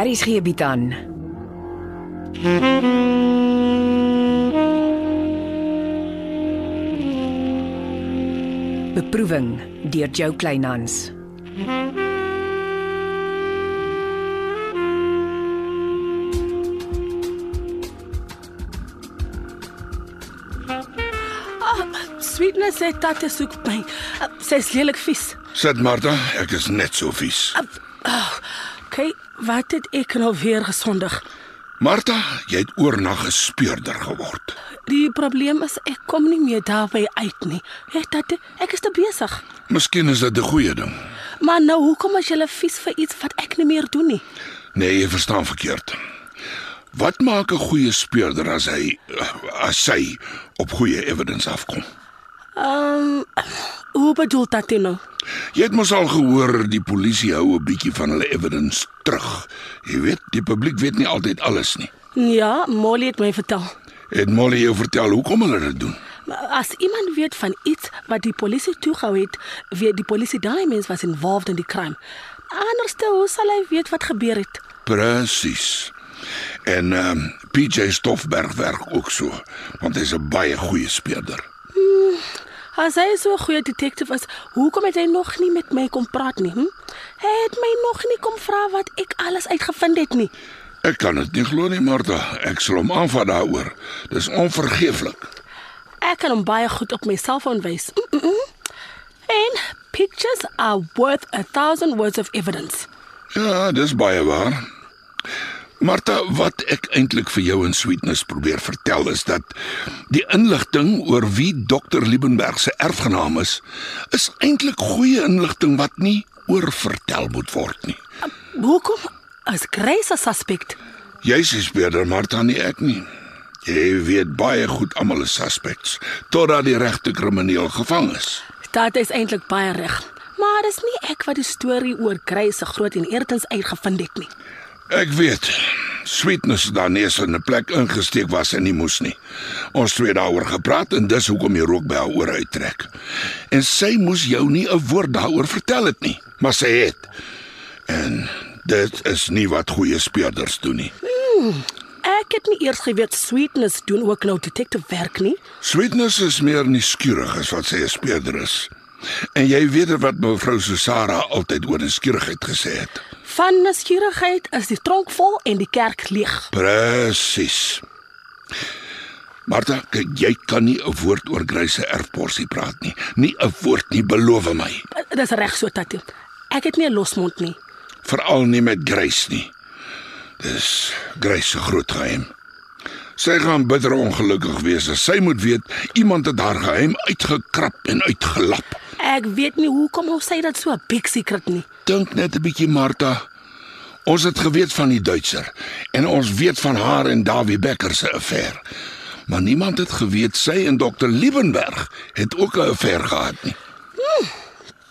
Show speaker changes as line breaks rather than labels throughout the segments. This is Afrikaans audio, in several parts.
Aries gee bied aan. Beproeving deur Jo Kleinhans.
Sweetness sê tatte soek my. Uh, Sy's lelik vies.
Sit Martha, ek is net so vies.
Uh, oh, kyk, wat het ek nou weer gesondig?
Martha, jy het oornag 'n speurder geword.
Die probleem is ek kom nie meer daarby uit nie. Hey tatte, ek is te besig.
Miskien is dit 'n goeie ding.
Maar nou hoekom as jy vies vir iets wat ek nie meer doen nie?
Nee, jy verstaan verkeerd. Wat maak 'n goeie speurder as hy as sy op goeie evidence afkom?
Ehm, um, hoe bedoel tatte nou?
Jy het mos al gehoor die polisie hou 'n bietjie van hulle evidence terug. Jy weet, die publiek weet nie altyd alles nie.
Ja, Molly het my vertel.
Het Molly jou vertel hoekom hulle dit doen?
As iemand weet van iets wat die polisie toegehou het, weet die polisie daai mens was involved in die crime. Anderste hoe sal hy weet wat gebeur het?
Presies. En ehm um, PJ Stoffberg werk ook so, want hy's 'n baie goeie speurder.
As hy so 'n goeie detective is, hoekom het hy nog nie met my kom praat nie? Hm? Hy het my nog nie kom vra wat ek alles uitgevind het nie.
Ek kan dit nie glo nie, Martha. Ek sal hom aanvat daaroor. Dis onvergeeflik.
Ek kan hom baie goed op my selfoon wys. Mm -mm. En pictures are worth a thousand words of evidence.
Ja, dis baie waar. Martha, wat ek eintlik vir jou in Sweetness probeer vertel is dat die inligting oor wie Dr. Liebenberg se erfgenaam is, is eintlik goeie inligting wat nie oorvertel moet word nie.
Uh, Hoekom as Grace 'n suspek?
Jy's die speurder, Martha, nie ek nie. Jy weet baie goed almal is suspects totdat die regte krimineel gevang is.
Dit is eintlik baie reg. Maar dis nie ek wat die storie oor Grace se groot en eertens uitgevind het nie.
Ek weet. Sweetness daarnees in 'n plek ingesteek was en nie moes nie. Ons twee daaroor gepraat en dis hoekom jy rook by haar oor uittrek. En sy moes jou nie 'n woord daaroor vertel het nie, maar sy het. En dit is nie wat goeie speurders doen nie.
Ek het nie eers geweet Sweetness doen ook nou detective werk nie.
Sweetness is meer nuuskierig as wat sy 'n speurder is. En jy weet wat mevrou Susara altyd oor nuuskierigheid gesê het.
Van nuuskierigheid is die tronk vol en die kerk leeg.
Presies. Martha, kyk, jy kan nie 'n woord oor Grace se erfporsie praat nie. Nie 'n woord nie, beloof my.
Dis reg so tatie. Ek het nie 'n losmond nie.
Veral nie met Grace nie. Dis Grace se groot geheim. Sy gaan bitter ongelukkig wees as sy moet weet iemand het haar geheim uitgekrap en uitgelap.
Ek weet nie hoekom of sy dit so 'n big secret nie.
Dink net 'n bietjie Martha. Ons het geweet van die Duitser en ons weet van haar en Dawie Becker se affære. Maar niemand het geweet sy en dokter Liebenberg het ook 'n affære gehad nie.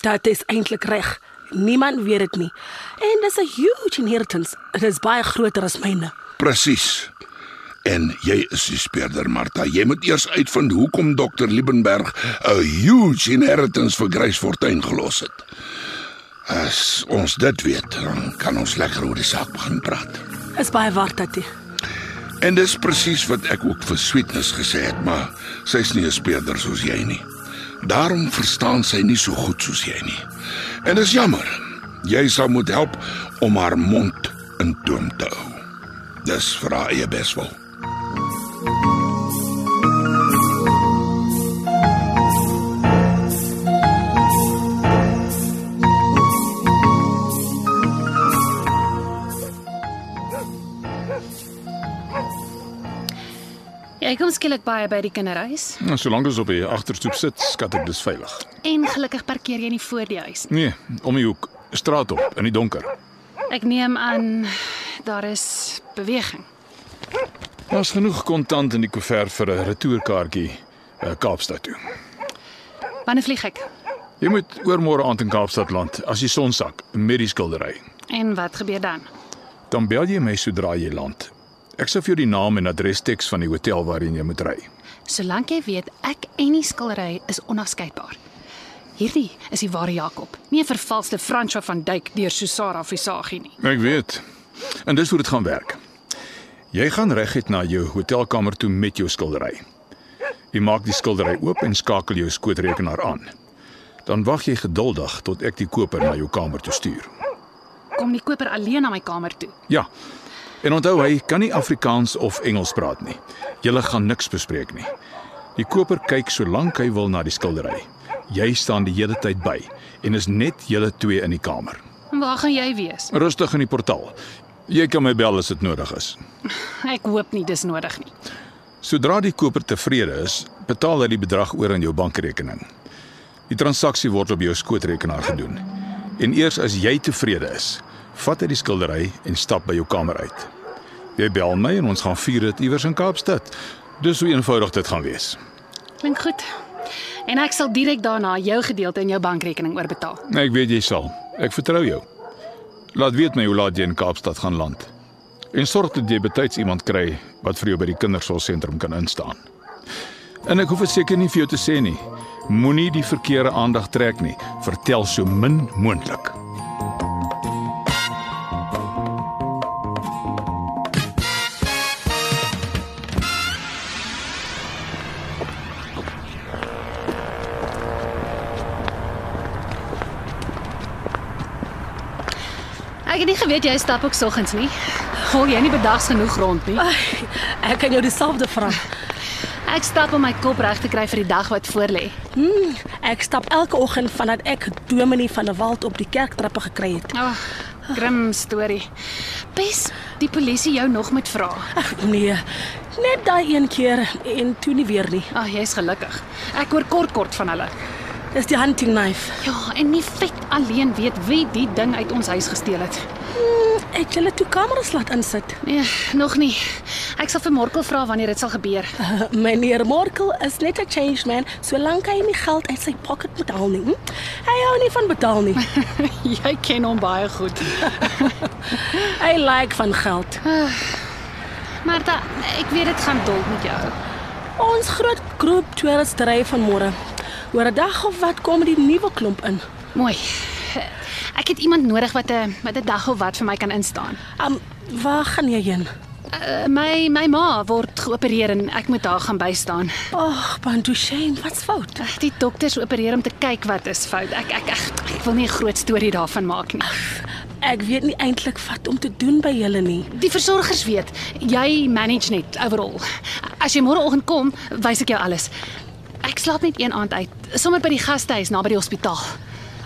Dit is eintlik reg. Niemand weet dit nie. En dis 'n huge inheritance. Dit is baie groter as myne.
Presies. En jy is die speurder Martha. Jy moet eers uitvind hoekom dokter Liebenberg 'n huge inheritance vir Grace Fortuin gelos het. As ons dit weet, dan kan ons lekker oor die saak begin praat.
Is baie waar tatie.
En dis presies wat ek ook vir Sweetness gesê het, maar sy's nie 'n speurder soos jy nie. Daarom verstaan sy nie so goed soos jy nie. En dis jammer. Jy sal moet help om haar mond in toom te hou. Dis vir haar eie beswil.
Jy Ja, kom skielik baie by die kinderhuis
Nou, solank as op die agterstoep sit, skat ek dis veilig.
en gelukkig parkeer jy nie voor die huis.
Nee, om die hoek, straat op, in die donker.
Ek neem aan daar is beweging.
Daar's genoeg kontant in die koevert vir 'n retourkaartjie eh, Kaapstad toe.
Wanneer vlieg ek?
Jy moet oormôre aand in Kaapstad land as die son sak met die skildery.
En wat gebeur dan?
Dan bel jy my sodra jy land. Ek sal vir jou die naam en adres teks van die hotel waarheen jy moet ry.
Solank jy weet ek en die skildery is onafskeidbaar. Hierdie is die ware Jakob, nie 'n vervalste Franswa van Dyk deur Susara Visagie nie.
Ek weet.
En dis hoe dit gaan werk. Jy gaan reguit na jou hotelkamer toe met jou skildery. Jy maak die skildery oop en skakel jou skootrekenaar aan. Dan wag jy geduldig tot ek die koper na jou kamer toe stuur.
Kom die koper alleen na my kamer toe.
Ja. En onthou hy kan nie Afrikaans of Engels praat nie. Julle gaan niks bespreek nie. Die koper kyk solank hy wil na die skildery. Jy staan die hele tyd by en is net julle twee in die kamer.
En waar gaan jy wees?
Rustig in die portaal. Jy kan my bel as dit nodig is.
Ek hoop nie dis nodig nie.
Sodra die koper tevrede is, betaal hy die bedrag oor aan jou bankrekening. Die transaksie word op jou skootrekenaar gedoen. En eers as jy tevrede is, vat hy die skildery en stap by jou kamer uit. Jy bel my en ons gaan vier dit iewers in Kaapstad. Dis hoe eenvoudig dit gaan wees.
Klink goed. En ek sal direk daarna jou gedeelte in jou bankrekening oorbetaal.
Nou, Ek weet jy sal. Ek vertrou jou. Laat weet my hoe laat jy in Kaapstad gaan land. En sorg dat jy betyds iemand kry wat vir jou by die kindersorgsentrum kan instaan. En ek hoef dit seker nie vir jou te sê nie. Moenie die verkeerde aandag trek nie. Vertel so min moontlik.
Ek het nie geweet jy stap ook soggens nie. Hol jy nie bedags genoeg rond nie.
Ai, Ek kan jou dieselfde vra.
Ek stap om my kop reg te kry vir die dag wat voorlê.
Hmm, ek stap elke oggend vandat ek Dominee van der Walt op die kerktrappe gekry het.
Ag, oh, grim storie. Bes, die polisie jou nog moet vra.
Ag nee, net daai een keer en toe nie weer nie.
Ag, Ah, jy's gelukkig. Ek hoor kort kort van hulle.
Dis die hunting knife.
Ja, en nie vet alleen weet wie die ding uit ons huis gesteel het.
Hmm, ek het hulle toe kameras laat insit.
Nee, nog nie. Ek sal vir Morkel vra wanneer dit sal gebeur.
Uh, meneer Morkel is net 'n change man, solank hy nie geld uit sy pocket moet haal nie. hm? Hy hou nie van betaal nie.
jy ken hom baie goed.
Hy like van geld.
Martha, ek weet dit gaan dol met jou.
Ons groot groep toeriste ry vanmôre. Oor 'n dag of wat kom die nuwe klomp in.
Mooi. Ek het iemand nodig wat 'n wat 'n dag of wat vir my kan instaan.
Um, waar gaan jy heen?
Uh, my my ma word geopereer en ek moet haar gaan bystaan.
Ag, Bantushane, wat's fout?
Ag, Die dokters opereer om te kyk wat is fout. Ek ek ek, ek wil nie 'n groot storie daarvan maak nie.
Ek weet nie eintlik wat om te doen by julle nie.
Die versorgers weet, jy manage net overall. As jy môreoggend kom, wys ek jou alles. Ek slaap net een aand uit, sommer by die gastehuis naby die hospitaal.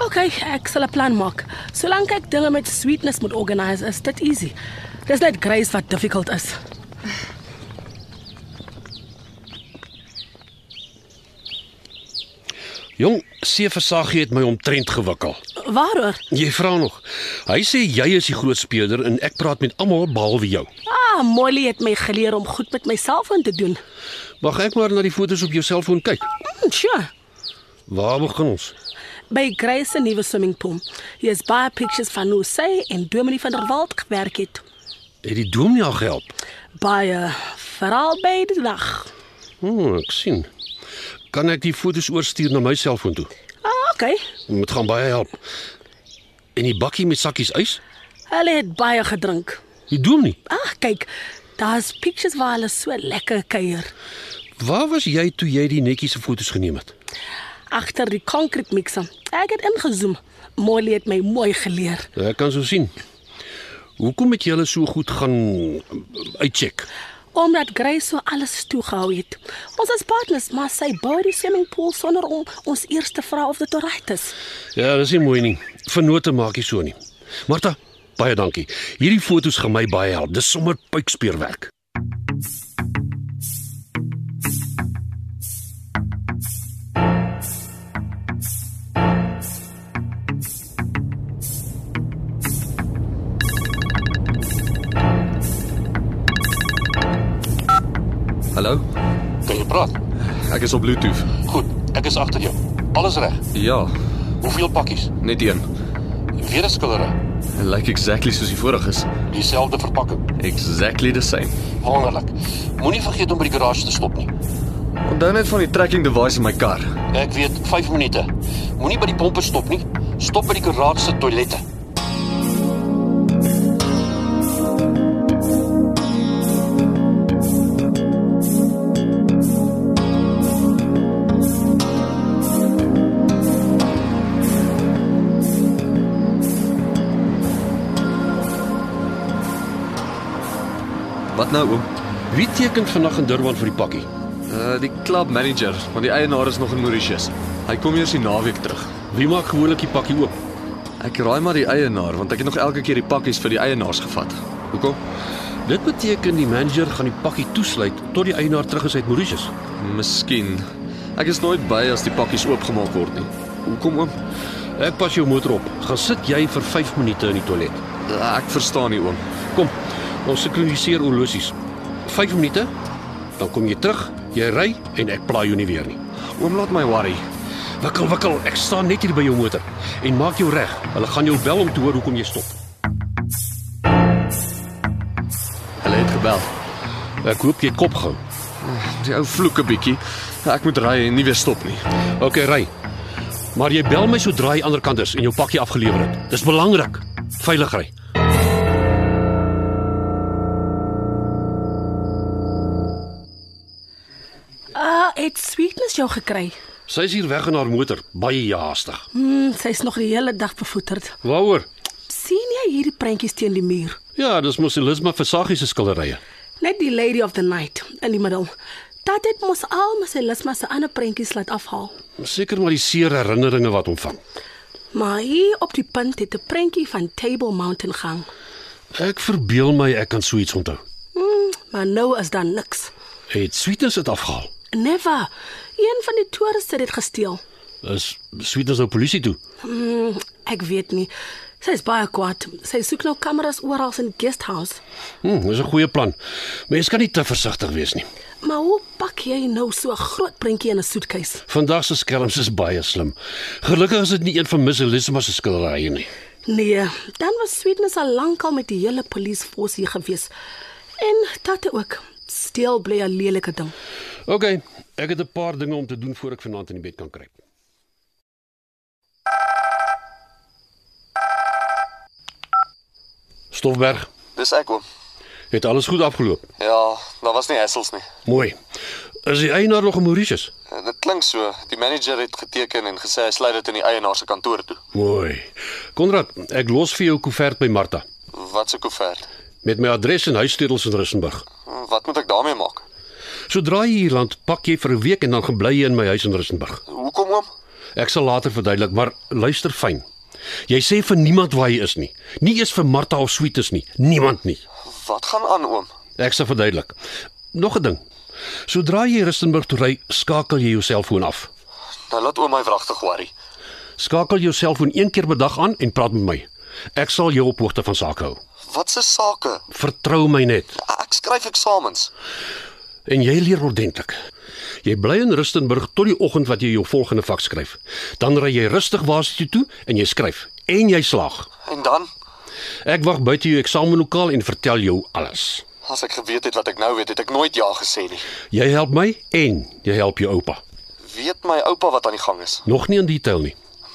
OK, ek sal 'n plan maak. Solank ek dinge met sweetness moet organise, is dit easy. Dis net grace wat difficult is.
Jong, Seeversagie het my omtrent gewikkel.
Waaroor?
Jy vra nog. Hy sê jy is die groot speurder en ek praat met almal behalwe jou.
Ah, Molly het my geleer om goed met my selfoon te doen.
Mag ek maar na die fotos op jou selfoon kyk?
Hm, sure.
Waar begin ons?
By Grace se nuwe swimmingpool. Hier is baie pictures van hoe sy en Dominie van der Walt gewerk het.
Het die dominee jou gehelp?
Baie veral by die dag.
Hm, ek sien. Kan ek die fotos oorstuur na my selfoon toe?
Ah, OK.
Dit gaan baie help. En die bakkie met sakkies ys?
Hulle het baie gedrink.
Die dominee.
Ag, kyk. Daar's pictures waar hulle so lekker kuier
Waar was jy toe jy die netjies se fotos geneem het?
agter die concrete mixer. Ek het ingezoom. Molly het my mooi geleer.
Ek kan so sien. Hoekom het julle so goed gaan uitcheck?
Omdat Grace so alles toegehou het. Ons is partners, maar sy bou die swimmingpool sonder om ons eers te vra of dit reg is.
Ja, dis nie mooi nie. Vernote maak nie so nie. Martha, baie dankie. Hierdie fotos gaan my baie help. Dis sommer puikspeerwerk.
Hallo?
Kan jy praat?
Ek is op Bluetooth.
Goed, ek is agter jou. Alles reg.
Ja,
Hoeveel pakkies?
net een.
Weer 'n skillery.
Lyk like exactly soos die vorige is.
Dieselfde verpakking.
Exactly the same.
Wonderlik. Moenie vergeet om by die garage te stop nie.
Onthou net van die tracking device in my kar.
Ek weet 5 minute. Moenie by die pompe stop nie. Stop by die garage se toilette.
Wat nou oom?
Wie teken vandag in Durban vir die pakkie?
Uh die club manager, want die eienaar is nog in Mauritius. Hy kom eers die naweek terug.
Wie maak gewoonlik die pakkie oop?
Ek raai maar die eienaar want ek het nog elke keer die pakkies vir die eienaars gevat. Hoekom?
Dit beteken die manager gaan die pakkie toesluit tot die eienaar terug is uit Mauritius.
Miskien. Ek is nooit by as die pakkies oopgemaak word nie. Hoekom oom?
Ek pas jou motor op. Gaan sit jy vir 5 minute in die toilet.
Uh, Ek verstaan nie oom.
Kom, ons sinkroniseer horlosies. 5 minute, dan kom jy terug, jy ry en ek pla jou nie weer nie.
Oom laat my worry.
Wikkel, wikkel, ek staan net hier by jou motor en maak jou reg. Hulle gaan jou bel om te hoor hoekom jy stop.
Hulle het gebel.
Ek hoop jy het kop gehou.
Die ou vloeke bietjie. Ek moet ry en nie weer stop nie.
OK, ry. Maar jy bel my sodra jy aan die ander kant is en jou pakkie afgelewer het. Dis belangrik. Veilig ry.
Ah, het sweetness jou gekry.
Sy is hier weg in haar motor, baie haastig.
Mm, sy's nog die hele dag bevoeterd.
Waaroor?
sien jy hierdie prentjies teen die muur?
Ja, dis mos Elisma Versaggie se skilderye.
Net die lady of the night in die middel. Dat het mos al my sy Lisma se ander prentjies laat afhaal.
Seker maar die seer herinneringe wat hom vang.
Maar hier op die punt het 'n prentjie van Table Mountain gehang.
Ek verbeel my ek kan so iets onthou.
Mm, maar nou is daar niks.
Het Sweetness dit afgehaal?
Never. Een van die toeriste het dit gesteel.
Is Sweetness nou polisie toe?
Mm, ek weet nie. Sy is baie kwaad. Sy soek nou kameras oral in die guesthouse.
Hm, dis 'n goeie plan. Mens kan nie te versigtig wees nie.
Maar hoe pak jy nou so 'n groot prentjie in 'n soetkies?
Vandag se skelms is baie slim. Gelukkig is dit nie een van Miss Elisma se skilderye nie.
Nee, dan was Sweetness al lankal met die hele polisiefors hier gewees. En tatte ook. Steel bly 'n lelike ding.
OK, ek het 'n paar dinge om te doen voor ek vanaand in die bed kan kruip. Stofberg,
Dis ek oom.
het alles goed afgeloop.
Ja, daar was nie hassles nie.
Mooi. Is die eienaar nog in Mauritius?
Eh, Dit klink so. Die manager het geteken en gesê hy sluit dit in die eienaar se kantoor toe.
Mooi. Konrad, ek los vir jou 'n koevert by Martha
Wat se koevert?
met my adres en huissleutels in Rissenburg.
Hm, Wat moet ek daarmee maak?
Sodra jy hier land, pak jy vir 'n week en dan gaan bly jy in my huis in Rissenburg.
Hoekom oom?
Ek sal later verduidelik, maar luister fyn. Jy sê vir niemand waar jy is nie. Nie eers vir Martha of Sweetus nie. Niemand nie.
Wat gaan aan oom?
Ek sal verduidelik. Nog 'n ding. Sodra jy Rissenburg toe ry, skakel jy jou selfoon af.
Nou laat oom my wragtig worry.
Skakel jou selfoon een keer per dag aan en praat met my. Ek sal jou op hoogte van sake hou.
Wat se sake?
Vertrou my net.
Ek skryf eksamens.
En jy leer ordentlik. Jy bly in Rustenburg tot die oggend wat jy jou volgende vak skryf. Dan ry jy rustig waarskynlik toe en jy skryf en jy slaag.
En dan,
Ek wag buite jou eksamenlokaal en vertel jou alles.
as ek geweet het wat ek nou weet, het ek nooit ja gesê nie.
Jy help my en jy help jou oupa.
Weet my oupa wat aan die gang is.
Nog nie in detail nie.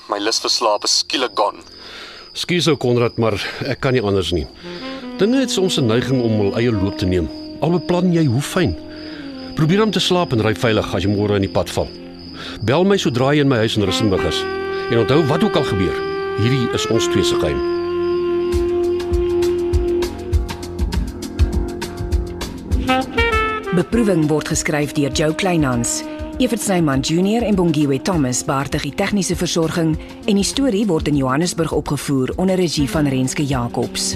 My lus vir slaap is skielik gaan.
Skus ou Konrad, maar ek kan nie anders nie. Dinge het soms 'n neiging om hul eie loop te neem. Al beplan jy hoe fyn. Probeer om te slaap en ry veilig as jy môre in die pad val. Bel my sodra jy in my huis in Rissenburg is. En onthou wat ook al gebeur, hierdie is ons twee se geheim.
Beproeving word geskryf deur Jo Kleinhans. Evert Snyman Junior en Bongwe Thomas baartig die tegniese versorging en die storie word in Johannesburg opgevoer onder regie van Renske Jacobs.